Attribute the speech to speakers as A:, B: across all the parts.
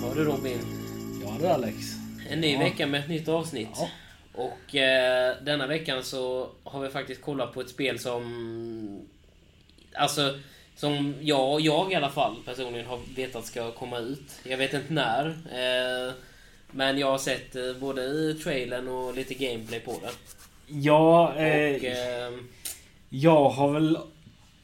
A: har du Robin.
B: Ja du Alex.
A: En ny
B: Ja.
A: vecka med ett nytt avsnitt.
B: Ja.
A: Och eh, denna veckan så har vi faktiskt kollat på ett spel som... Alltså, som jag, jag i alla fall personligen har vetat ska komma ut. Jag vet inte när. Eh, men jag har sett eh, både trailern och lite gameplay på det.
B: Ja, eh,
A: Och, eh,
B: jag har väl...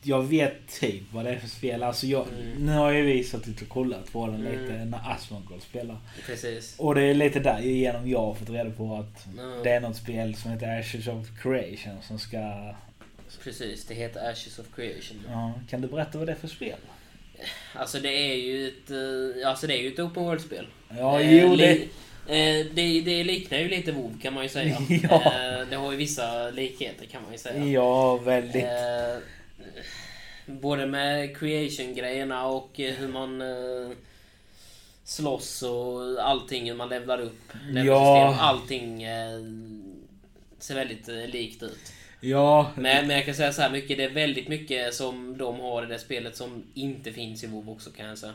B: Jag vet typ vad det är för spel. Alltså jag,
A: Mm.
B: Nu har ju vi suttit och kollat på den lite när Asmongold spelar.
A: precis.
B: Och det är lite där genom jag har fått reda på att
A: Mm.
B: det är något spel som heter Ashes of Creation som ska...
A: Precis, det heter Ashes of Creation.
B: Ja, kan du berätta vad det är för spel?
A: Alltså det är ju ett, eh, alltså, det är ju ett open world-spel.
B: Ja,
A: Eh,
B: jo det...
A: li- eh, det, det liknar ju lite WoW kan man ju säga.
B: Ja.
A: Eh, det har ju vissa likheter kan man ju säga.
B: Ja, väldigt.
A: Eh, både med creation-grejerna och eh, hur man eh, slåss och allting, hur man levlar upp.
B: Ja.
A: Levelsystem, allting eh, ser väldigt eh, likt ut.
B: Ja,
A: Men, men jag kan säga så här mycket, det är väldigt mycket som de har i det spelet som inte finns i WoW också kan jag säga.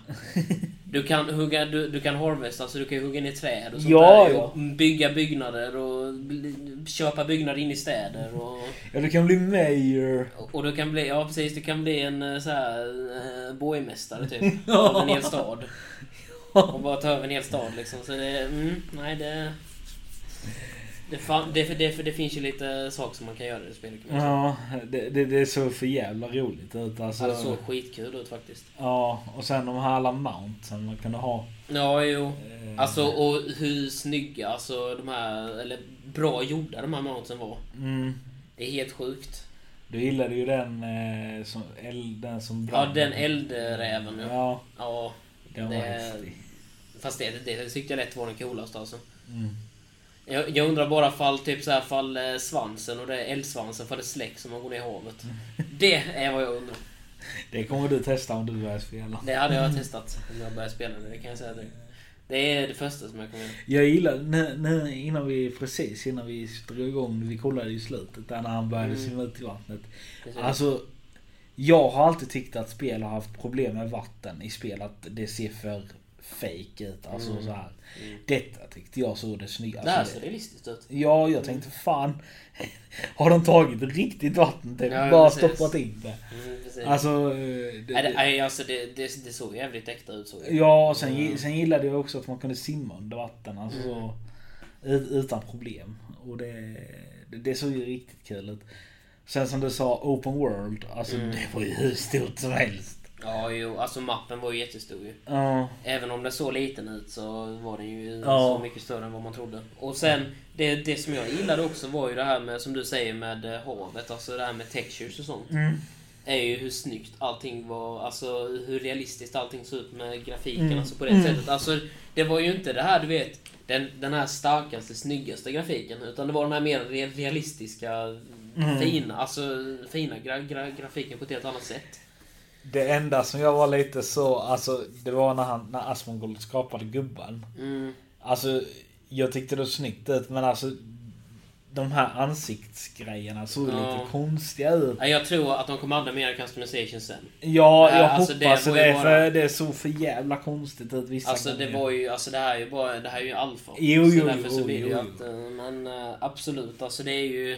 A: Du kan hugga, du, du kan harvesta, så du kan hugga ner träd och sånt
B: Ja,
A: där.
B: ja.
A: Och bygga byggnader och bli- köpa byggnader in i städer och...
B: ja, du kan bli mayor.
A: Och du kan bli, ja precis, du kan bli en eh, så här eh, borgmästare typ. Av en hel stad. Och bara ta över en hel stad liksom. Så det, mm, nej det... Det, fan, det, för, det, för det finns ju lite saker som man kan göra i det spelet kan man säga.
B: Ja, det, det, det såg för jävla roligt ut alltså.
A: Ja, det såg skitkul ut faktiskt.
B: Ja, och sen de här alla mountsen man kunde ha.
A: Ja, jo.
B: Eh,
A: Alltså, och hur snygga, alltså de här, eller bra gjorda de här mountsen var.
B: Mm.
A: Det är helt sjukt.
B: Du gillade ju den eh, som, eld, den som
A: Ja, den eldräven. Ja.
B: Ja,
A: ja.
B: den var
A: Det-
B: häftig.
A: Fast det, det tyckte jag lätt var den coolaste alltså.
B: Mm.
A: Jag, jag undrar bara fall typ så här, fall eh, svansen och det är eldsvansen för det släcks om man går ner i havet.
B: Mm.
A: Det är vad jag undrar.
B: Det kommer du testa om du börjar spela.
A: Det hade
B: Mm.
A: jag testat om jag började spela nu, det kan jag säga direkt. Det är det första som jag kommer ihåg.
B: Jag gillar, när, när, innan vi, precis innan vi drog igång, vi kollade ju slutet där när han började
A: Mm.
B: simma ut i vattnet.
A: Precis.
B: Alltså, jag har alltid tyckt att spel har haft problem med vatten i spel, att det ser för fake ut. Alltså
A: Mm.
B: så här.
A: Mm.
B: Detta tyckte jag såg det snyggt.
A: Där
B: Alltså,
A: ser det listigt ut.
B: Ja, jag tänkte fan. Har de tagit riktigt vatten typ?
A: Ja,
B: Bara
A: precis.
B: stoppat in det.
A: Mm, precis.
B: Alltså... eh,
A: Nej, det,
B: Det, Mm.
A: nej, alltså det, det, det såg jävligt äkta ut såg det.
B: ja, och sen, gi- sen gillade jag också att man kunde simma under vatten. Alltså,
A: Mm.
B: så, ut- utan problem. Och det, det, det såg ju riktigt kul ut. Sen som du sa, open world. Alltså
A: Mm.
B: det var ju hur stort som helst.
A: Ja, jo, alltså mappen var ju jättestor ju.
B: Ja,
A: Även om den såg liten ut så var den ju
B: Ja.
A: så mycket större än vad man trodde. Och sen, det, det som jag gillade också var ju det här med, som du säger, med eh, havet. Alltså det här med textures och sånt.
B: Mm.
A: Är ju hur snyggt allting var, alltså hur realistiskt allting såg ut med grafiken.
B: Mm.
A: Alltså på det sättet. Alltså det var ju inte det här, du vet, den, den här starkaste, snyggaste grafiken. Utan det var den här mer re- realistiska,
B: Mm.
A: fina, alltså fina gra, gra, grafiken på ett helt annat sätt.
B: Det enda som jag var lite så, alltså det var när, han, när Asmongold skapade gubben.
A: Mm.
B: Alltså, jag tyckte det var snyggt ut men alltså de här ansiktsgrejerna såg
A: Ja.
B: lite konstiga ut.
A: Nej, Jag tror att de kommer använda mer customization sen.
B: Ja,
A: Ja,
B: jag
A: alltså, det
B: hoppas det,
A: var ju
B: det,
A: bara-
B: för det såg för jävla konstigt ut vissa
A: Alltså det
B: gånger.
A: var ju, alltså det här är ju bara, det här är ju alfa.
B: Jo,
A: så
B: jo,
A: därför
B: jo,
A: så blir det ju
B: jo,
A: att, eh, men eh, absolut, alltså det är ju...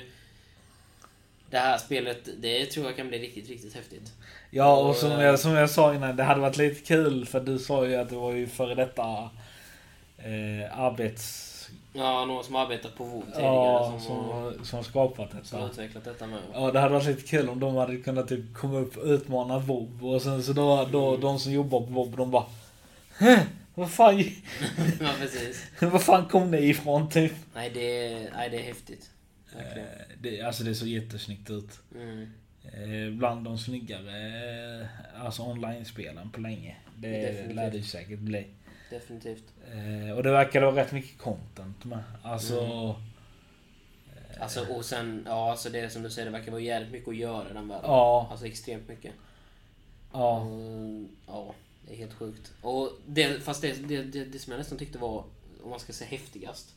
A: Det här spelet, det tror jag kan bli riktigt, riktigt häftigt.
B: Ja, och som jag, som jag sa innan, det hade varit lite kul för du sa ju att det var ju före detta eh, arbets...
A: Ja, någon som arbetat på WoW tidigare
B: Ja,
A: som, har,
B: som, som skapat
A: som
B: detta.
A: har utvecklat detta med.
B: Ja, det hade varit lite kul om de hade kunnat typ komma upp och utmana Vob och sen så då, då de som jobbar på Vob de bara "Hä? vad fan,
A: ja, precis.
B: vad fan kom ni ifrån typ?
A: Nej, det är, nej, det är häftigt. Verkligen.
B: Eh, Det, alltså det såg jättesnyggt ut.
A: Mm.
B: Eh, Bland de snyggare eh, alltså online-spelen på länge. Det
A: Definitivt.
B: lär det ju säkert bli.
A: Definitivt.
B: Eh, Och det verkar vara rätt mycket content med. Alltså...
A: Alltså, och sen, ja, alltså det är som du säger, det verkar vara jävligt mycket att göra i den världen.
B: Ja,
A: Alltså extremt mycket.
B: ja.
A: Mm, ja, det är helt sjukt. Och det, fast det, det, det, det som jag nästan tyckte var, om man ska säga häftigast,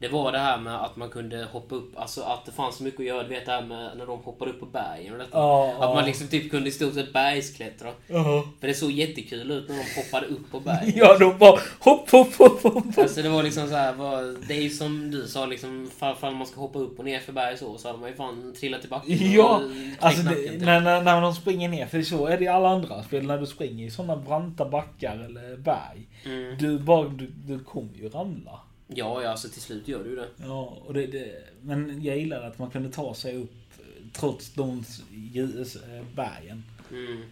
A: Det var det här med att man kunde hoppa upp, alltså att det fanns så mycket att göra. Du vet det här med när de hoppar upp på bergen och detta.
B: Ja,
A: att
B: ja.
A: man liksom typ kunde i stort sett bergsklättra.
B: Ja.
A: För det såg jättekul ut när de hoppade upp på bergen.
B: Ja, de bara hopp, hopp, hopp, hopp. hopp.
A: Alltså det var liksom så här, vad- det är ju som du sa liksom, fall, fall man ska hoppa upp och ner för berg så, så hade man ju fan trillat tillbaka.
B: Ja, alltså
A: typ.
B: det, när, när, när de springer ner, för så är det i alla andra spel när du springer i sådana branta backar eller berg.
A: Mm.
B: Du, bara, du, du kommer ju ramla.
A: Ja, ja, alltså till slut gör du ju det.
B: Ja, och det, det, men jag gillade att man kunde ta sig upp eh, trots de s- ljus, eh, bergen.
A: Mm.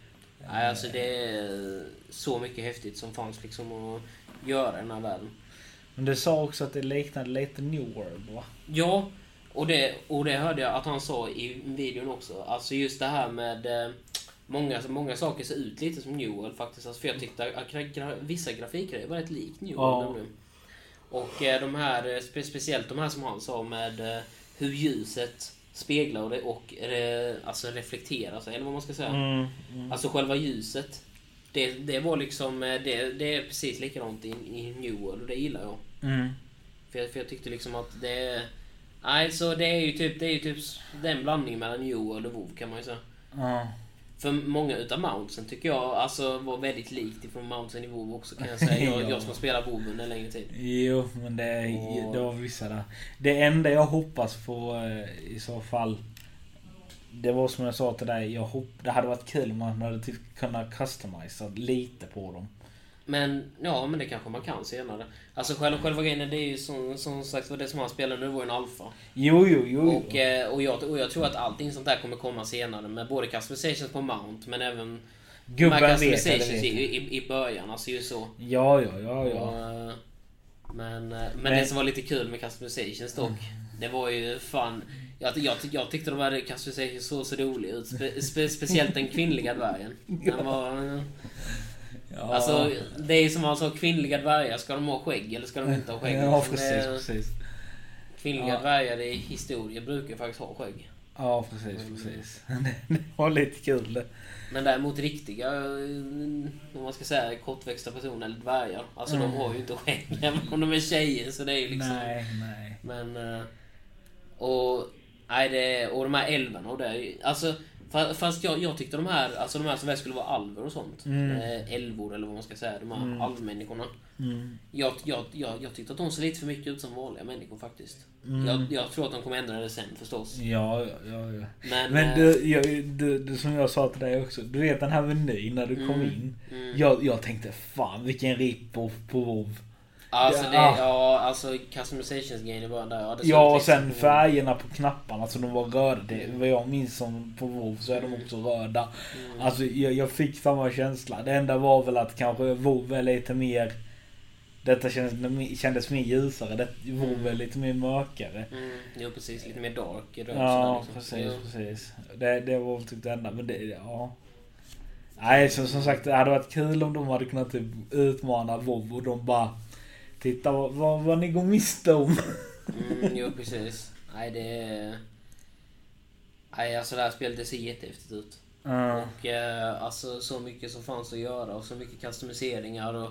A: Nej, alltså det är så mycket häftigt som fanns liksom att göra i den här världen.
B: Men du sa också att det liknade lite New World va?
A: Ja, och det, och det hörde jag att han sa i videon också. Alltså just det här med eh, många, många saker ser ut lite som New World faktiskt. Alltså för jag tyckte att gra, gra, vissa grafikgrejer var rätt likt New World.
B: Ja.
A: nämligen. Och eh, de här, eh, spe, speciellt de här som han sa med eh, hur ljuset speglar och, det, och eh, alltså reflekteras, eller vad man ska säga.
B: Mm,
A: Alltså själva ljuset. Det, det var liksom, eh, det, det är precis likadant i, i New World och det gillar jag.
B: Mm.
A: För jag, för jag tyckte liksom att det... Nej, så det är ju typ, det är ju typ s- den blandningen mellan Joel och WoW kan man ju säga.
B: Ja.
A: För många utav mountsen tycker jag alltså var väldigt likt ifrån mountsen i WoW också kan jag säga. Jag,
B: Ja.
A: jag som har spelat WoW under en längre tid.
B: Jo, men det,
A: Och-
B: det var vissa där. Det enda jag hoppas på eh, i så fall. Det var som jag sa till dig. Jag hopp, det hade varit kul om man hade typ kunnat customisa lite på dem.
A: Men ja, men det kanske man kan senare. Alltså själva, själva grejen är det är ju som, som sagt var det som han spelade nu var ju en alfa.
B: Jo, jo, jo.
A: Och, eh, och, jag, och jag tror att allting sånt där kommer komma senare med både customizations på Mount men även de
B: Gubben
A: här
B: vet, eller
A: customizations
B: vet.
A: i, i, i början. Alltså ju så.
B: Ja, ja, ja, ja.
A: Och, eh, Men, eh, men
B: Men-
A: det som var lite kul med customizations dock, det var ju fan... Jag, jag, tyck- jag tyckte de hade customizations så så rolig ut. Spe, spe, speciellt den kvinnliga dvärgen. Den var, eh,
B: ja.
A: alltså, det är ju som man sa, kvinnliga dvärgar, ska de ha skägg eller ska de inte ha skägg?
B: Ja,
A: Liksom,
B: precis,
A: det-
B: precis.
A: Kvinnliga
B: Ja.
A: dvärgar i historia brukar ju faktiskt ha skägg.
B: Ja, precis, precis. Det var lite kul det.
A: Men däremot riktiga, eh, om man ska säga kortväxta personer eller dvärgar, alltså de har ju inte skägg även om de är tjejer. Så det är ju liksom...
B: Mm. Nej, nej.
A: Men... eh, Och... Nej, det, och de här älvarna och det. är ju- Alltså, fa- fast jag, jag tyckte de här, alltså de här som väl skulle vara alver och sånt. eh, Älvor eller vad man ska säga. De här alvmänniskorna.
B: Mm.
A: Jag, jag, jag, jag tyckte att de ser lite för mycket ut som vanliga människor faktiskt.
B: Mm.
A: Jag, jag tror att de kommer ändra det sen förstås.
B: Ja, ja, ja. ja.
A: Men,
B: Mm. Men
A: eh,
B: du, jag, du, du, som jag sa till dig också. Du vet den här menyn när du kom
A: Mm,
B: in. Jag, jag tänkte fan vilken rip-off på WoW.
A: alltså, det,
B: ja.
A: ja, alltså customizations-grejen i början där. Ja, det såg
B: Ja och
A: liksom- Mm.
B: sen färgerna på knapparna som de var röda. Det, vad jag minns som på WoW så är de också röda.
A: Mm.
B: Alltså jag, jag fick samma känsla. Det enda var väl att kanske WoW är lite mer... Detta kändes, kändes mer ljusare. Det, WoW är lite mer mörkare.
A: Mm, jo, precis. Lite mer dark i rörelsen.
B: Ja,
A: där, liksom.
B: precis, precis. Det, det var väl typ det enda, men det, ja. Nej, så, som sagt, det hade varit kul om de hade kunnat typ utmana WoW och de bara Titta vad, vad, vad ni går miste om.
A: Mm, jo precis. Nej det... är- Nej alltså det här spelet det ser jättehäftigt ut.
B: Ja.
A: Och eh, alltså så mycket som fanns att göra och så mycket customiseringar och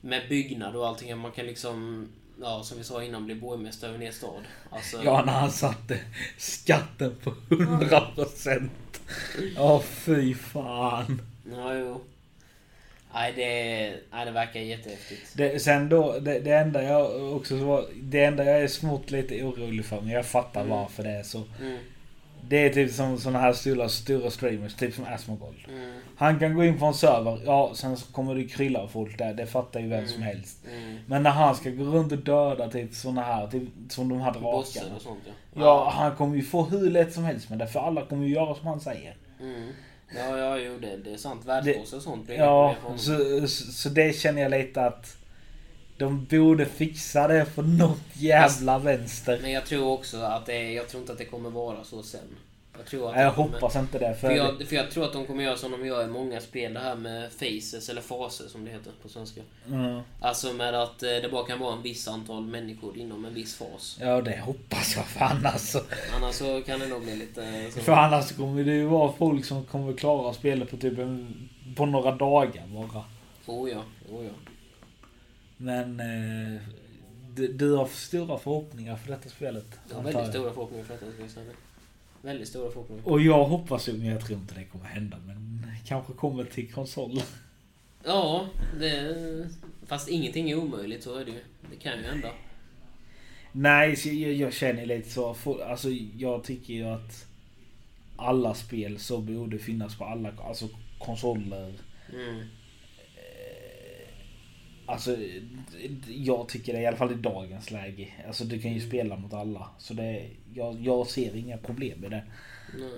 A: med byggnad och allting. Man kan liksom, ja som vi sa innan, bli borgmästare över en hel stad. Alltså,
B: Ja, när han satte skatten på 100%. Ja, fy fan.
A: ja, jo. Nej det, nej, det verkar jättehäftigt.
B: Det, sen då, det, det enda jag också var, det enda jag är smått lite orolig för, men jag fattar varför det är så.
A: Mm,
B: Det är typ som sådana här stora, stora streamers, typ som Asmongold.
A: mm,
B: Han kan gå in på en server, ja sen så kommer det krylla av folk där, det fattar ju vem som helst.
A: mm.
B: Men när han ska gå runt och döda typ såna här, typ, som de här
A: Bossar
B: drakarna.
A: och sånt ja.
B: Ja, han kommer ju få hur lätt som helst med det, för alla kommer ju göra som han säger.
A: Mm. Ja, ja, jo det, det är sant. Världsbossar och sånt blir
B: Ja,
A: inga problem för honom.
B: så, så, så det känner jag lite att de borde fixa det för något jävla vänster.
A: Men jag tror också att det, jag tror inte att det kommer vara så sen. Jag tror att
B: Jag
A: det kommer-
B: hoppas inte det, för...
A: För jag, för jag tror att de kommer göra som de gör i många spel, det här med faces, eller faser som det heter på svenska.
B: Mm.
A: Alltså med att eh, det bara kan vara en viss antal människor inom en viss fas.
B: Ja, det hoppas jag fan alltså.
A: Annars så kan det nog bli lite eh, så.
B: För annars kommer det ju vara folk som kommer klara spelet på typ en, på några dagar bara.
A: Oh ja, oh ja.
B: Men eh, Du, du har stora förhoppningar för detta spelet.
A: Jag har
B: antar
A: väldigt
B: jag.
A: stora förhoppningar för detta ska jag säga. Väldigt stora förhoppningar.
B: Och jag hoppas ju, men jag tror inte det kommer hända, men kanske kommer till konsol.
A: Ja, det, fast ingenting är omöjligt, så är det ju. Det kan ju hända.
B: Nej, så jag, jag känner lite så. För, alltså, jag tycker ju att alla spel så borde finnas på alla alltså, konsoler.
A: Mm.
B: Alltså, d- d- jag tycker det i alla fall i dagens läge. Alltså, du kan ju spela mot alla. Så det, jag, jag ser inga problem med det.
A: Nej.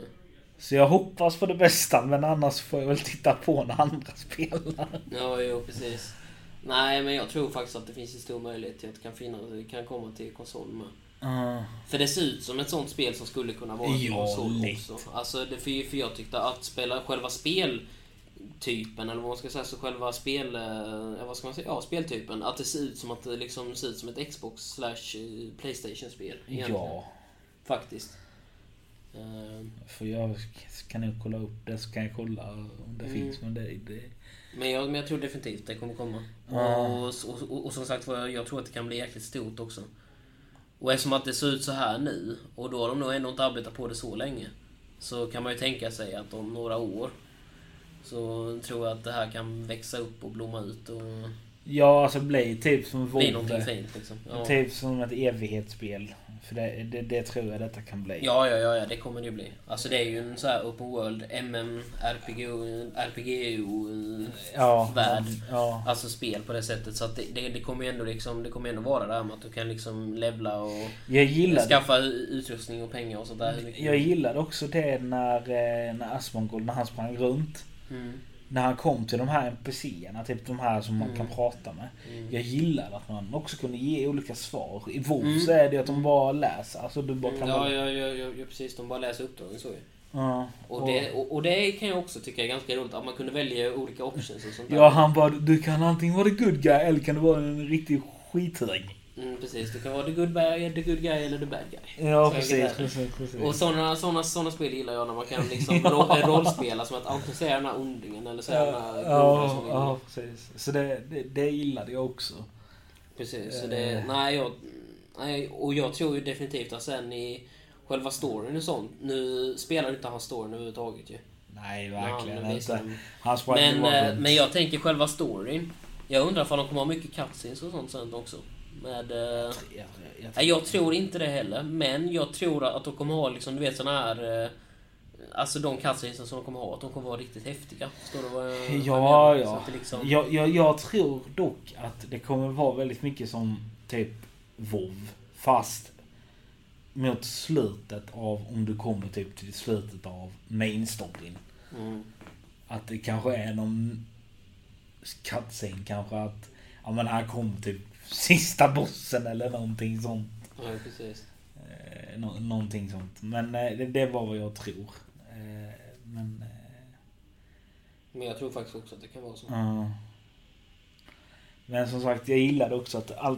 B: Så jag hoppas på det bästa, men annars får jag väl titta på när andra spelar.
A: Ja, jo, precis. Nej, men jag tror faktiskt att det finns en stor möjlighet till att det kan, finnas, det kan komma till konsol med. För det ser ut som ett sånt spel som skulle kunna vara en
B: Ja,
A: konsol
B: lätt.
A: också. Alltså, det, för, för jag tyckte att spela själva speltypen, eller vad man ska säga, så själva spel... eh, Vad ska man säga? Ja, speltypen. Att det ser ut som att det liksom ser ut som ett Xbox slash eh, Playstation-spel. egentligen.
B: ja,
A: Faktiskt. Eh,
B: för jag kan nog kolla upp det så kan jag kolla om det
A: Mm.
B: finns. Men det, det,
A: Men jag, men jag tror definitivt det kommer komma.
B: Ja.
A: Och, och, och, och som sagt var, jag, jag tror att det kan bli jäkligt stort också. Och eftersom att det ser ut så här nu, och då har de nog ändå inte arbetat på det så länge. Så kan man ju tänka sig att om några år så tror jag att det här kan växa upp och blomma ut och
B: Ja, alltså bli typ som
A: bli någonting
B: Volvo.
A: fint. Liksom. Ja.
B: Typ som ett evighetsspel. För det, det, det tror jag detta kan bli.
A: Ja, ja, ja, ja, det kommer det ju bli. Alltså det är ju en så här open world, MMRPG, E RPG,
B: ja
A: värld.
B: Ja.
A: Alltså spel på det sättet. Så att det, det, det kommer ju ändå liksom, det kommer ändå vara det här med att du kan liksom levla och
B: Jag gillade,
A: skaffa utrustning och pengar och sånt där. Hur mycket-
B: jag gillade också det när, eh, när Asmongold, när han sprang runt.
A: Mm.
B: När han kom till de här NPCerna, typ de här som man
A: Mm.
B: kan prata med.
A: Mm.
B: Jag gillade att man också kunde ge olika svar. I WoW
A: Mm.
B: så är det ju att de bara läser. Alltså du bara kan...
A: Ja, ja, ja, ja, ja, precis. De bara läser uppdragen så ju.
B: Ja.
A: Och det, och, och det kan jag också tycka är ganska roligt, att man kunde välja olika options och sånt där.
B: ja, han bara du kan antingen vara the good guy eller kan du vara en riktig skithög.
A: Mm, precis. Du kan vara the good, guy, the good guy eller the bad guy.
B: Ja,
A: Så
B: precis,
A: enkelt är det.
B: precis, precis.
A: Och sådana såna, såna spel gillar jag när man kan liksom
B: Ja.
A: ro- rollspela som att antingen så är jag den här ondingen eller så är jag den här goda
B: ja,
A: som vinner.
B: ja, precis. Så det, det, det gillade jag också.
A: Precis, så det,
B: Eh.
A: nej, jag, nej, och jag tror ju definitivt att sen i själva storyn och sånt, nu spelar inte han storyn överhuvudtaget ju.
B: Nej,
A: Ja,
B: verkligen
A: men visst,
B: inte.
A: men-
B: Han sprang
A: Men,
B: bara
A: eh,
B: runt.
A: men jag tänker själva storyn. Jag undrar om de kommer ha mycket cutscenes och sånt sen också. Med, eh,
B: Jag, jag,
A: nej, jag tror inte det heller, men jag tror att de kommer ha liksom, du vet såna här... Eh, alltså de cutscenes som de kommer ha, att de kommer vara riktigt häftiga. Förstår du vad jag vad
B: Eh,
A: jag
B: ja,
A: menar? Så
B: ja.
A: att det liksom,
B: Jag, jag, jag tror dock att det kommer vara väldigt mycket som typ WoW Fast mot slutet av, om du kommer typ till slutet av main storyn.
A: Mm.
B: Att det kanske är någon cutscene kanske att, ja men här kom typ sista bossen eller någonting sånt.
A: Ja, precis.
B: Eh, nå- någonting sånt. Men eh, det, det var vad jag tror. Eh, men... Eh,
A: Men jag tror faktiskt också att det kan vara så.
B: ja. Men som sagt, jag gillade också att all,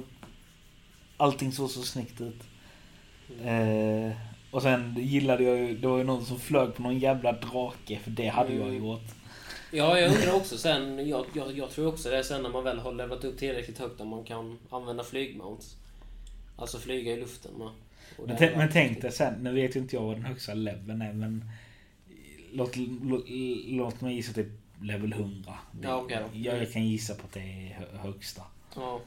B: allting såg så snyggt ut. Eh, och sen gillade jag ju, det var ju någon som flög på någon jävla drake, för det hade jag
A: Mm.
B: gjort.
A: Ja, jag undrar också sen. Jag, jag, jag tror också det sen när man väl har levlat upp tillräckligt högt att man kan använda flygmounts. Alltså flyga i luften med. Och
B: Men,
A: det
B: tänk-
A: är-
B: men tänk dig sen, nu vet ju inte jag vad den högsta leveln är, men låt, låt, låt mig gissa typ level 100.
A: Ja, okej då.
B: jag, jag kan gissa på att det är hö- högsta.
A: Ja,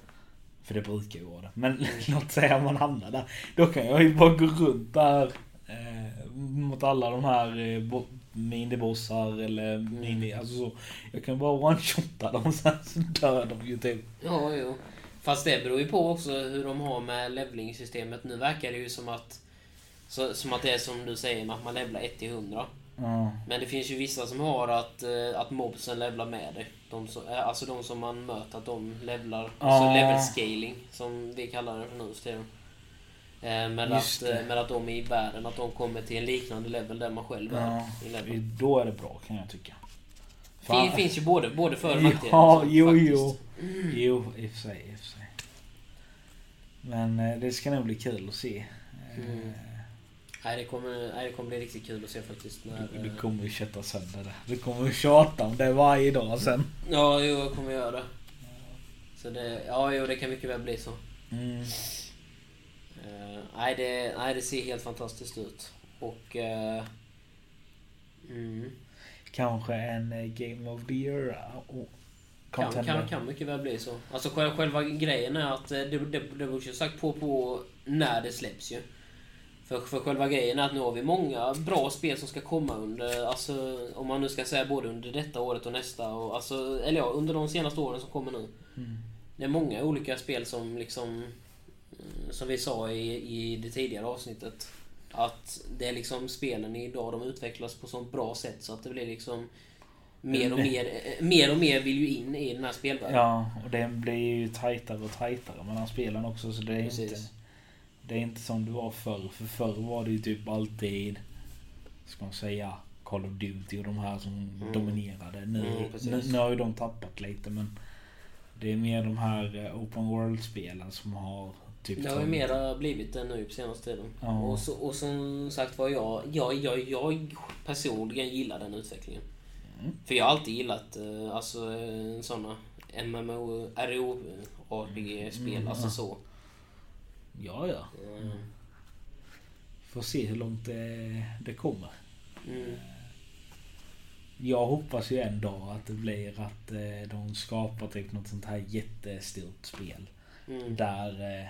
B: För det brukar ju vara det. Men låt säga man hamnar där. Då kan jag ju bara gå runt där. Eh, mot alla de här eh, bo- minibossar eller
A: Mm.
B: mini... Alltså så. Jag kan bara one-shotta dem sen så dör de ju typ.
A: ja, jo. Fast det beror ju på också hur de har med levlingsystemet. Nu verkar det ju som att så, som att det är som du säger med att man levlar 1 till 100.
B: Ja.
A: Men det finns ju vissa som har att, eh, att mobsen levlar med dig. De som, eh, alltså de som man möter, att de levlar. Alltså
B: Ja.
A: level scaling, som vi kallar det för nu för tiden. Eh, Med
B: Just
A: att, eh,
B: det.
A: med att de i världen, att de kommer till en liknande level där man själv
B: Ja.
A: är. I level.
B: Då är det bra kan jag tycka.
A: Det finns ju både, både för och nackdelar.
B: Ja,
A: så,
B: jo,
A: faktiskt. Mm.
B: jo. Jo, i och för sig. I och för sig. Men eh, det ska nog bli kul att se.
A: Mm.
B: Eh,
A: Nej, det kommer, nej, det kommer bli riktigt kul att se faktiskt. När,
B: Du, du
A: eh,
B: kommer ju kötta sönder det. Du kommer ju tjata om det varje dag sen.
A: Ja, jo, jag kommer göra det. Så det, ja, jo, det kan mycket väl bli så.
B: Mm.
A: Eh, nej, det, nej, det ser helt fantastiskt ut. Och... eh, mm,
B: Kanske en eh, Game of the Year oh,
A: kan,
B: contender.
A: kan, kan mycket väl bli så. Alltså själva, själva grejen är att eh, det, det, det borde ju sagt på på när det släpps ju. För, för själva grejen är att nu har vi många bra spel som ska komma under, alltså om man nu ska säga både under detta året och nästa och alltså, eller ja, under de senaste åren som kommer nu.
B: Mm.
A: Det är många olika spel som liksom eh, Som vi sa i, i det tidigare avsnittet Att det är liksom spelen idag de utvecklas på sånt bra sätt så att det blir liksom Mer och
B: Mm.
A: mer, eh, mer och mer vill ju in i den här spelvärlden.
B: Ja, och det blir ju tajtare och tajtare mellan spelen också. Så det är,
A: Precis.
B: inte, det är inte som det var förr. För förr var det ju typ alltid, ska man säga, Call of Duty och de här som
A: Mm.
B: dominerade. Nu,
A: Mm, precis.
B: nu, nu har ju de tappat lite men det är mer de här eh, Open World-spelen som har typ
A: Det har ju
B: tagit-
A: mera blivit det nu på senaste tiden.
B: Ja.
A: Och, så, och som sagt var, jag, jag, jag, jag personligen gillar den utvecklingen.
B: Mm.
A: För jag har alltid gillat eh, alltså, eh, såna MMO, RO, RPG-spel,
B: Mm,
A: alltså
B: ja.
A: så.
B: Ja, ja.
A: Eh,
B: Får se hur långt det, det kommer.
A: Mm.
B: Jag hoppas ju en dag att det blir att eh, de skapar typ något sånt här jättestort spel.
A: Mm.
B: Där eh,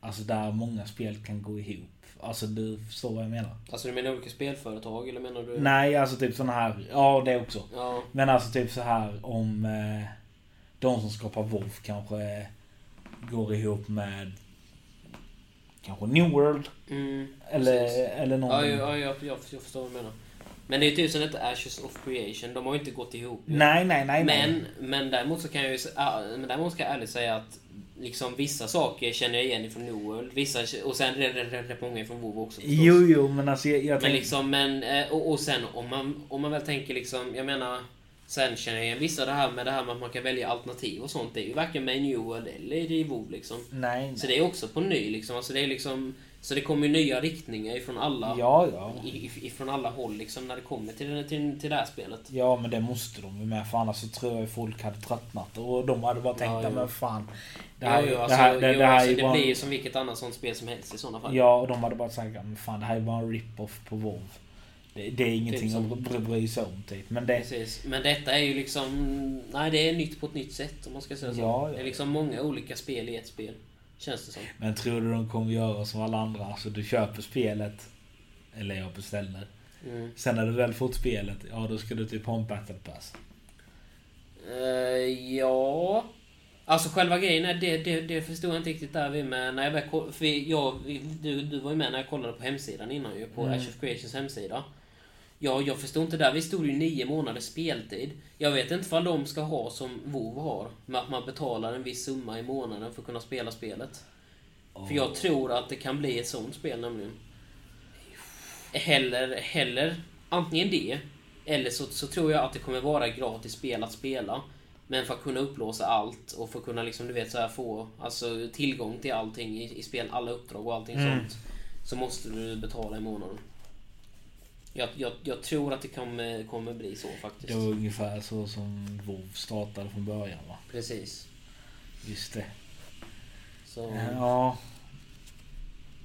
B: Alltså där många spel kan gå ihop. Alltså du förstår vad jag menar?
A: Alltså du menar olika spelföretag eller menar du?
B: Nej, alltså typ såna här. Ja, det också.
A: Ja.
B: Men alltså typ så här om eh, de som skapar WoW kanske går ihop med kanske New World
A: Mm.
B: eller,
A: Precis.
B: eller någon.
A: Ja, ja, ja jag, jag, jag förstår vad du menar. Men det är ju typ som detta Ashes of Creation, de har ju inte gått ihop. ju.
B: Nej, nej, nej. nej.
A: Men, men däremot så kan jag ju s- ah, men däremot ska jag ärligt säga att liksom vissa saker känner jag igen från New World, vissa, och sen rätt, rätt, rätt, rätt många från WoW också förstås.
B: Jo, jo, men alltså jag, jag
A: Men
B: tänker-
A: liksom, men, eh, och, och sen om man, om man väl tänker liksom, jag menar Sen känner jag igen vissa det här med det här med att man kan välja alternativ och sånt. Det är ju varken med i New World eller i WoW liksom.
B: Nej, nej.
A: Så det är också på ny liksom. Alltså det är liksom så det kommer ju nya riktningar ifrån alla,
B: Ja, ja.
A: if- ifrån alla håll liksom när det kommer till, till, till det här spelet.
B: Ja men det måste de ju med för annars så tror jag ju folk hade tröttnat och de hade bara tänkt
A: Ja,
B: ja,
A: jo.
B: men fan. Det
A: Jo,
B: här,
A: jo,
B: det
A: alltså,
B: här,
A: jo,
B: det, det här
A: alltså,
B: är ju
A: det
B: bara...
A: blir ju som vilket annat sånt spel som helst i sådana fall.
B: Ja och de hade bara sagt "Ja, men fan det här är bara en rip-off på WoW. Det, det är ingenting
A: som-
B: att bry, bry sig om typ. Men det...
A: Precis. Men detta är ju liksom... Nej, det är nytt på ett nytt sätt om man ska säga så.
B: Ja, ja.
A: Det är liksom många olika spel i ett spel. Känns det som.
B: Men tror du de kommer göra som alla andra? Alltså du köper spelet. Eller jag beställer.
A: Mm.
B: Sen när du väl fått spelet, ja då ska du typ ha en battle pass.
A: Eh, ja... Alltså själva grejen är, det, det, det förstod jag inte riktigt där vi med. När jag väl koll- för jag, du, du var ju med när jag kollade på hemsidan innan ju, på
B: Mm.
A: Ash of Creations hemsida. Ja, jag förstod inte där. Vi stod ju nio månaders speltid. Jag vet inte vad de ska ha som WoW har. Med att man betalar en viss summa i månaden för att kunna spela spelet. För jag tror att det kan bli ett sånt spel nämligen. Heller, heller antingen det, eller så, så tror jag att det kommer vara gratis spel att spela. Men för att kunna upplåsa allt och för att kunna liksom, du vet, så här, få alltså, tillgång till allting i, i spel, alla uppdrag och allting
B: Mm.
A: sånt. Så måste du betala i månaden. Jag, jag, jag tror att det kommer, kommer bli så faktiskt.
B: Det var ungefär så som WoW startade från början va?
A: Precis.
B: Just det.
A: Så,
B: Eh, Ja.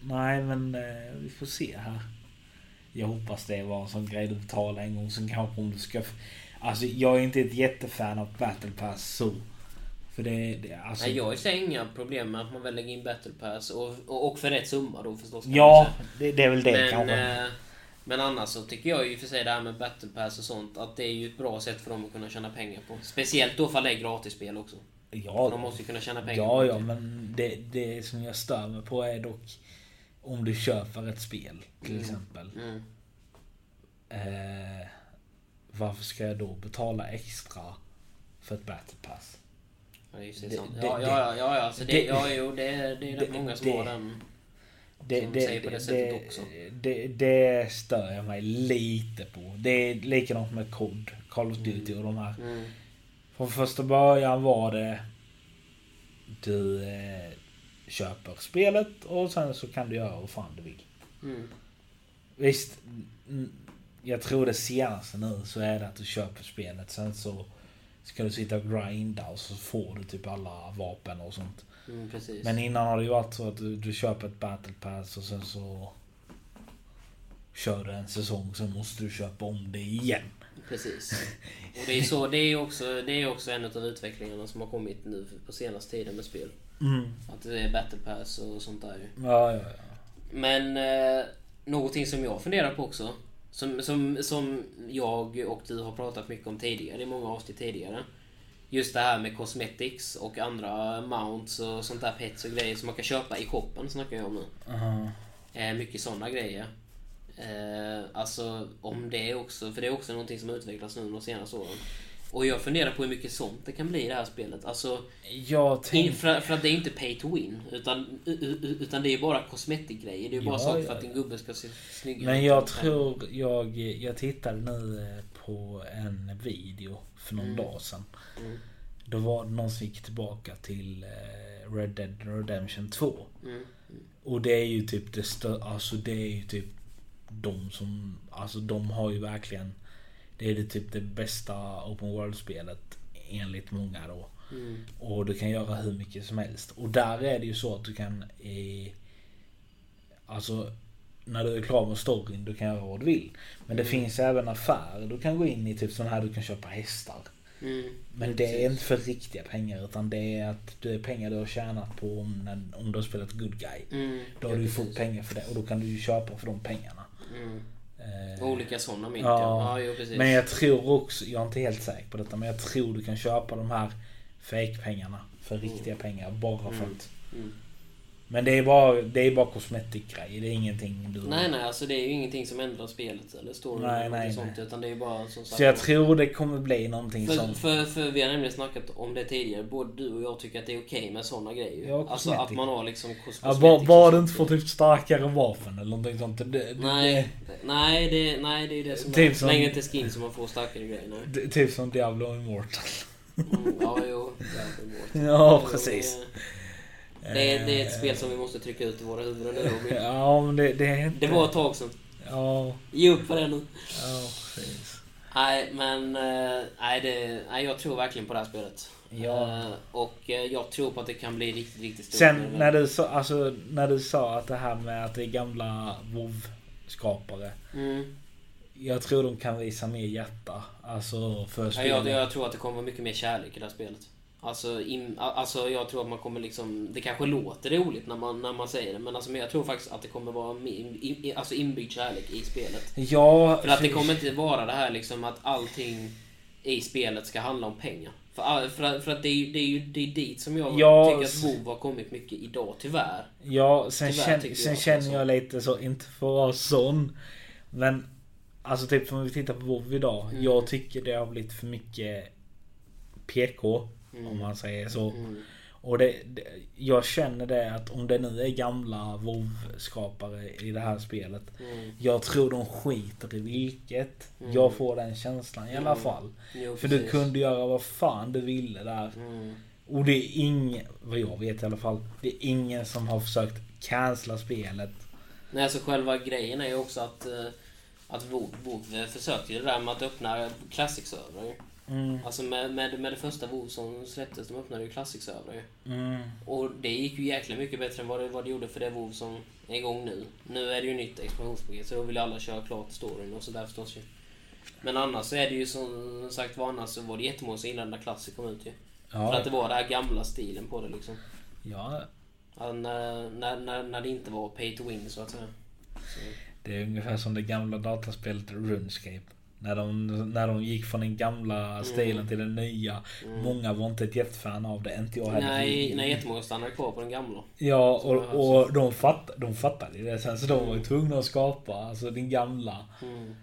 B: Nej, men eh, vi får se här. Jag hoppas det var en sån grej du betalar en gång. Sen kanske om du ska... f- Alltså jag är inte ett jättefan av Battle Pass så. För det... det alltså,
A: nej, jag har ju så inga problem med att man väl lägger in battle pass och, och, och för rätt summa då förstås. kan man
B: ja,
A: säga.
B: det, det är väl det
A: Men,
B: kanske.
A: eh, men annars så tycker jag ju för sig det här med battle pass och sånt att det är ju ett bra sätt för dem att kunna tjäna pengar på. Speciellt då för det är gratisspel också. För de
B: ja,
A: måste ju kunna tjäna pengar på
B: ja,
A: det.
B: ja, men det, det som jag stör mig på är dock om du köper ett spel till
A: Mm.
B: exempel.
A: Mm.
B: Eh, varför ska jag då betala extra för ett Battle Pass?
A: Ja, det är ju så
B: Det-
A: sant.
B: det-
A: Ja,
B: det-
A: ja, ja, ja, alltså det,
B: det-
A: ja, jo, det, är- det är rätt
B: det-
A: många som
B: det-
A: har den.
B: Det,
A: Som
B: det,
A: säger på det sättet
B: det,
A: också.
B: Det, det stör jag mig lite på. Det är likadant med COD, Call of Duty och de här.
A: Mm.
B: Från första början var det... Du eh, köper spelet och sen så kan du göra vad fan du vill.
A: Mm.
B: Visst, mm, jag tror det senaste nu så är det att du köper spelet sen så ska du sitta och grinda och så får du typ alla vapen och sånt.
A: Mm, precis.
B: Men innan har det ju varit så att du, du köper ett battle pass och sen så kör du en säsong, sen måste du köpa om det igen.
A: Precis. Och det är så, det är också, det är också en av utvecklingarna som har kommit nu på senaste tiden med spel. Att det är battle pass och sånt där ju.
B: Ja, ja, ja.
A: Men eh, någonting som jag funderar på också. Som, som, som jag och du har pratat mycket om tidigare i många avsnitt tidigare. Just det här med cosmetics och andra mounts och sånt där pets och grejer som man kan köpa i shoppen snackar jag om nu.
B: Aha.
A: Eh, mycket sådana grejer. Eh, alltså om det också, för det är också någonting som utvecklas nu de senaste åren. Och jag funderar på hur mycket sånt det kan bli i det här spelet. Alltså,
B: Jag
A: in,
B: tänkte...
A: för, för att det är inte pay to win. Utan, u- u- utan det är bara kosmetikgrejer. Det är bara
B: Ja,
A: saker
B: ja,
A: för att din
B: ja.
A: gubbe ska se snyggare
B: Men
A: ut.
B: jag tror jag... Jag tittade nu eh, på en video för någon dag sedan.
A: Mm.
B: Då var det någon som gick tillbaka till eh, Red Dead Redemption 2.
A: Mm.
B: Och det är ju typ det stö- Alltså det är ju typ de som... Alltså de har ju verkligen... Det är det typ det bästa Open World-spelet enligt många då.
A: Mm.
B: Och du kan göra hur mycket som helst. Och där är det ju så att du kan... Eh, alltså när du är klar med storyn, du kan göra vad du vill. Men det finns även affärer du kan gå in i, typ sån här du kan köpa hästar.
A: Mm.
B: Men det är inte för riktiga pengar utan det är att det är pengar du har tjänat på om, när, om du har spelat good guy.
A: Mm.
B: Då har du ju fått pengar för det och då kan du ju köpa för de pengarna.
A: Mm.
B: Eh,
A: Och Olika sådana mynt ja.
B: Ja.
A: ja. jo, precis.
B: men jag tror också, jag är inte helt säker på detta, men jag tror du kan köpa de här fake-pengarna för riktiga pengar bara för att.
A: Mm.
B: Men det är bara, det är bara kosmetikgrejer, det är ingenting du...
A: Nej, nej, alltså det är ju ingenting som ändrar spelet eller storyn
B: Nej,
A: eller något
B: nej,
A: sånt.
B: nej.
A: Utan det är ju bara som sagt...
B: Så jag tror det kommer bli någonting
A: För,
B: som...
A: för, för vi har nämligen snackat om det tidigare. Både du och jag tycker att det är okej med sådana grejer.
B: Ja,
A: alltså att
B: kosmetik.
A: man har liksom kos-
B: Ja,
A: kosmetik.
B: bara, bara
A: och
B: du
A: sånt.
B: inte får typ starkare vapen eller någonting sånt. Det, det,
A: Nej, nej, det, nej, det är ju det som
B: Typ
A: är.
B: som-
A: Längre till skin som man får starkare grejer. Nej.
B: det, typ som Diablo Immortal.
A: Mm, ja, jo. det är inte vårt.
B: Ja,
A: Jo,
B: precis. Eh.
A: Det, det, är- det är ett spel som vi måste trycka ut i våra huvuden nu Robin.
B: Ja, men det, det är inte...
A: Mm. Det var ett tag sedan.
B: Ja,
A: Ge upp för det nu.
B: ja precis.
A: Nej, men... eh, Nej, det, nej, jag tror verkligen på det här spelet.
B: Ja.
A: Eh, Och eh, jag tror på att det kan bli riktigt, riktigt stort. Mm.
B: Sen när du, sa, alltså, när du sa att det här med att det är gamla WoW-skapare.
A: Mm.
B: Jag tror de kan visa mer hjärta. Alltså för
A: Ja, jag,
B: spelet.
A: jag tror att det kommer vara mycket mer kärlek i det här spelet. Alltså, in, a- alltså jag tror att man kommer liksom... Det kanske låter roligt när man, när man säger det, men, alltså, men jag tror faktiskt att det kommer vara in, in, in- alltså inbyggd kärlek i spelet.
B: Ja,
A: För att det kommer inte vara det här liksom att allting i spelet ska handla om pengar. För, all- för, att- för att det är ju det är, ju, det är dit som jag
B: Ja,
A: tycker
B: s-
A: att WoW har kommit mycket idag, tyvärr.
B: Ja, sen,
A: Tyvärr
B: känn,
A: tycker
B: sen
A: jag
B: känner
A: också.
B: jag lite så, inte för att vara sån. Men alltså typ om vi tittar på WoW idag.
A: Mm.
B: Jag tycker det har blivit för mycket PK.
A: Mm.
B: Om man säger så. Och det, det, jag känner det att om det nu är gamla WoW-skapare i det här spelet.
A: Mm.
B: Jag tror de skiter i vilket. Jag får den känslan i alla fall.
A: Mm. Jo,
B: För du
A: precis.
B: kunde göra vad fan du ville där.
A: Mm.
B: Och det är ingen, vad jag vet i alla fall, det är ingen som har försökt cancella spelet.
A: Nej, alltså själva grejen är ju också att, eh, att WoW, WoW försökte ju det där med att öppna Classic-servrar ju.
B: Mm,
A: Alltså med, med, med det första WoW som släpptes, de öppnade ju Classic-servrar ju.
B: mm,
A: Och det gick ju jäkligt mycket bättre än vad det, vad det gjorde för det WoW som är igång nu. Nu är det ju nytt expansionspaket så då vill ju alla köra klart storyn och sådär förstås ju. Men annars så är det ju som sagt var annars så var det jättemånga som gillade när Classic kom ut ju. För
B: ja,
A: att det var den här gamla stilen på det liksom.
B: ja,
A: Ja, när, när, när, när det inte var pay to win så att säga. Så,
B: det är ungefär som det gamla dataspelet RuneScape. När de, när de gick från den
A: Mm.
B: gamla stilen till den nya. Många var inte ett jättefan av det, inte jag heller.
A: nej, alltså. nej, jättemånga stannade kvar på den gamla.
B: Ja, och, och de, fatt, de fattade ju det sen så de var ju tvungna att skapa, alltså den gamla.
A: Mm.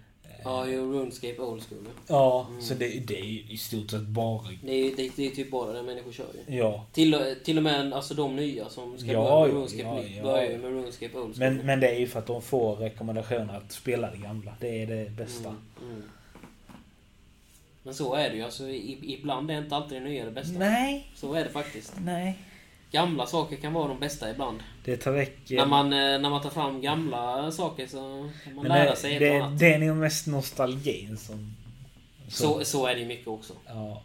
A: Ja, ju RuneScape Old School. ja.
B: Ja, så det, det är ju i stort sett bara...
A: Det är ju det, det är typ bara det människor kör ju.
B: Ja.
A: Till, och- till och med alltså, de nya som ska
B: Ja,
A: börja med
B: ja,
A: RuneScape
B: ja,
A: nytt
B: ja.
A: börjar ju med RuneScape Old School.
B: Men, men det är ju för att de får rekommendationer att spela det gamla. Det är det bästa.
A: Mm. Men så är det ju. Alltså, i, ibland är inte alltid det nya det bästa.
B: Nej,
A: Så är det faktiskt.
B: nej.
A: Gamla saker kan vara de bästa ibland.
B: Det tar väck...
A: När, man, eh, när man tar fram gamla saker så kan man
B: men
A: lära
B: det,
A: sig ett och
B: det,
A: annat.
B: det är nog mest nostalgin som...
A: Så, så är det ju mycket också.
B: Ja.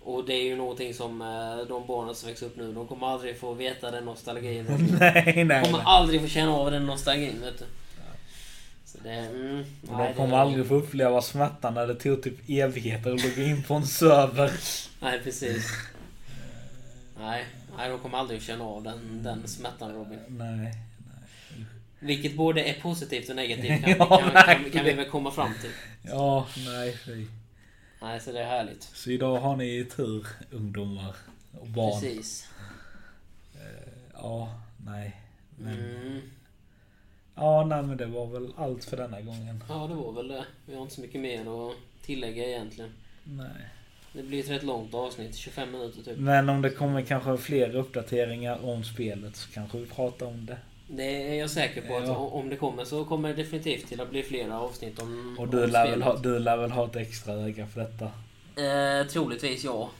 A: Och det är ju någonting som eh, de barnen som växer upp nu, de kommer aldrig få veta den nostalgin.
B: nej, nej.
A: De kommer
B: nej.
A: aldrig få känna av den nostalgin, vet du. Så det, mm,
B: Och
A: nej,
B: de
A: det-
B: kommer aldrig få uppleva smärtan när det tog typ evigheter att logga in på en server.
A: Nej, precis. Nej, nej, de kommer aldrig känna av den, den smärtan Robin.
B: Nej.
A: Vilket både är positivt och negativt kan,
B: Ja,
A: kan, kan, kan vi
B: verkligen.
A: väl komma fram till.
B: Ja, nej. fy.
A: Nej, så det är härligt.
B: Så idag har ni tur, ungdomar och barn.
A: Precis.
B: Ja, nej.
A: Mm.
B: Ja, nej men det var väl allt för denna gången.
A: Ja, det var väl det. Vi har inte så mycket mer att tillägga egentligen.
B: Nej.
A: Det blir ett rätt långt avsnitt, 25 minuter typ.
B: Men om det kommer kanske fler uppdateringar om spelet så kanske vi pratar om det.
A: Det är jag säker på att
B: Ja.
A: o- om det kommer så kommer det definitivt till att bli flera avsnitt om
B: Och du
A: om
B: lär, väl
A: spelet.
B: ha, du lär väl ha ett extra öga för detta?
A: Eh, troligtvis ja.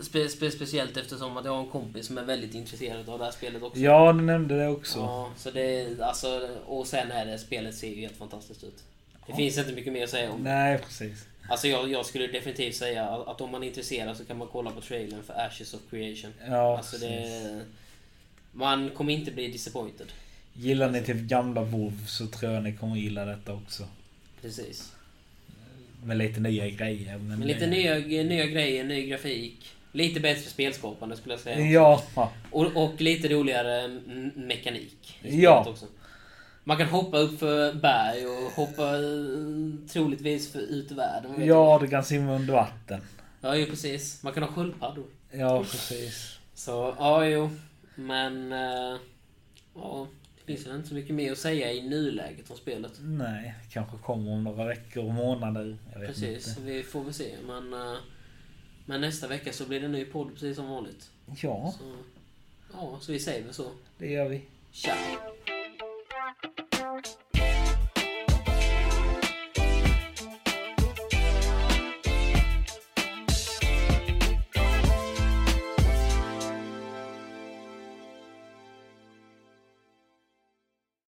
A: Spe, spe, speciellt eftersom att jag har en kompis som är väldigt intresserad av det här spelet också.
B: Ja, du nämnde det också.
A: Ja, så det, alltså, och sen är det, spelet ser ju helt fantastiskt ut. Det finns inte mycket mer att säga om det.
B: Nej, precis.
A: Alltså jag, jag skulle definitivt säga att att om man är intresserad så kan man kolla på trailern för Ashes of Creation.
B: Ja,
A: alltså
B: precis.
A: det... Man kommer inte bli disappointed.
B: Gillar ni typ gamla WoW så tror jag ni kommer gilla detta också.
A: Precis.
B: Med lite nya grejer. Men,
A: Men lite
B: eh,
A: nya, nya grejer, ny grafik. Lite bättre spelskapande skulle jag säga.
B: Ja.
A: Och, och lite roligare m- mekanik. i spelet
B: Ja.
A: Också. Man kan hoppa upp för berg och hoppa eh, troligtvis för ut i världen. vet
B: Ja, du kan simma under vatten.
A: jag. ja, ju precis. Man kan ha sköldpaddor.
B: Ja, precis.
A: Så, ja, jo. Men... eh, Ja, det finns väl inte så mycket mer att säga i nuläget om spelet.
B: Nej, kanske kommer om några veckor och månader. Jag vet
A: Precis,
B: Inte.
A: vi får väl se. Men, eh, men nästa vecka så blir det en ny podd precis som vanligt.
B: Ja,
A: Så, ja, så vi säger väl så.
B: det gör vi.
A: Tja!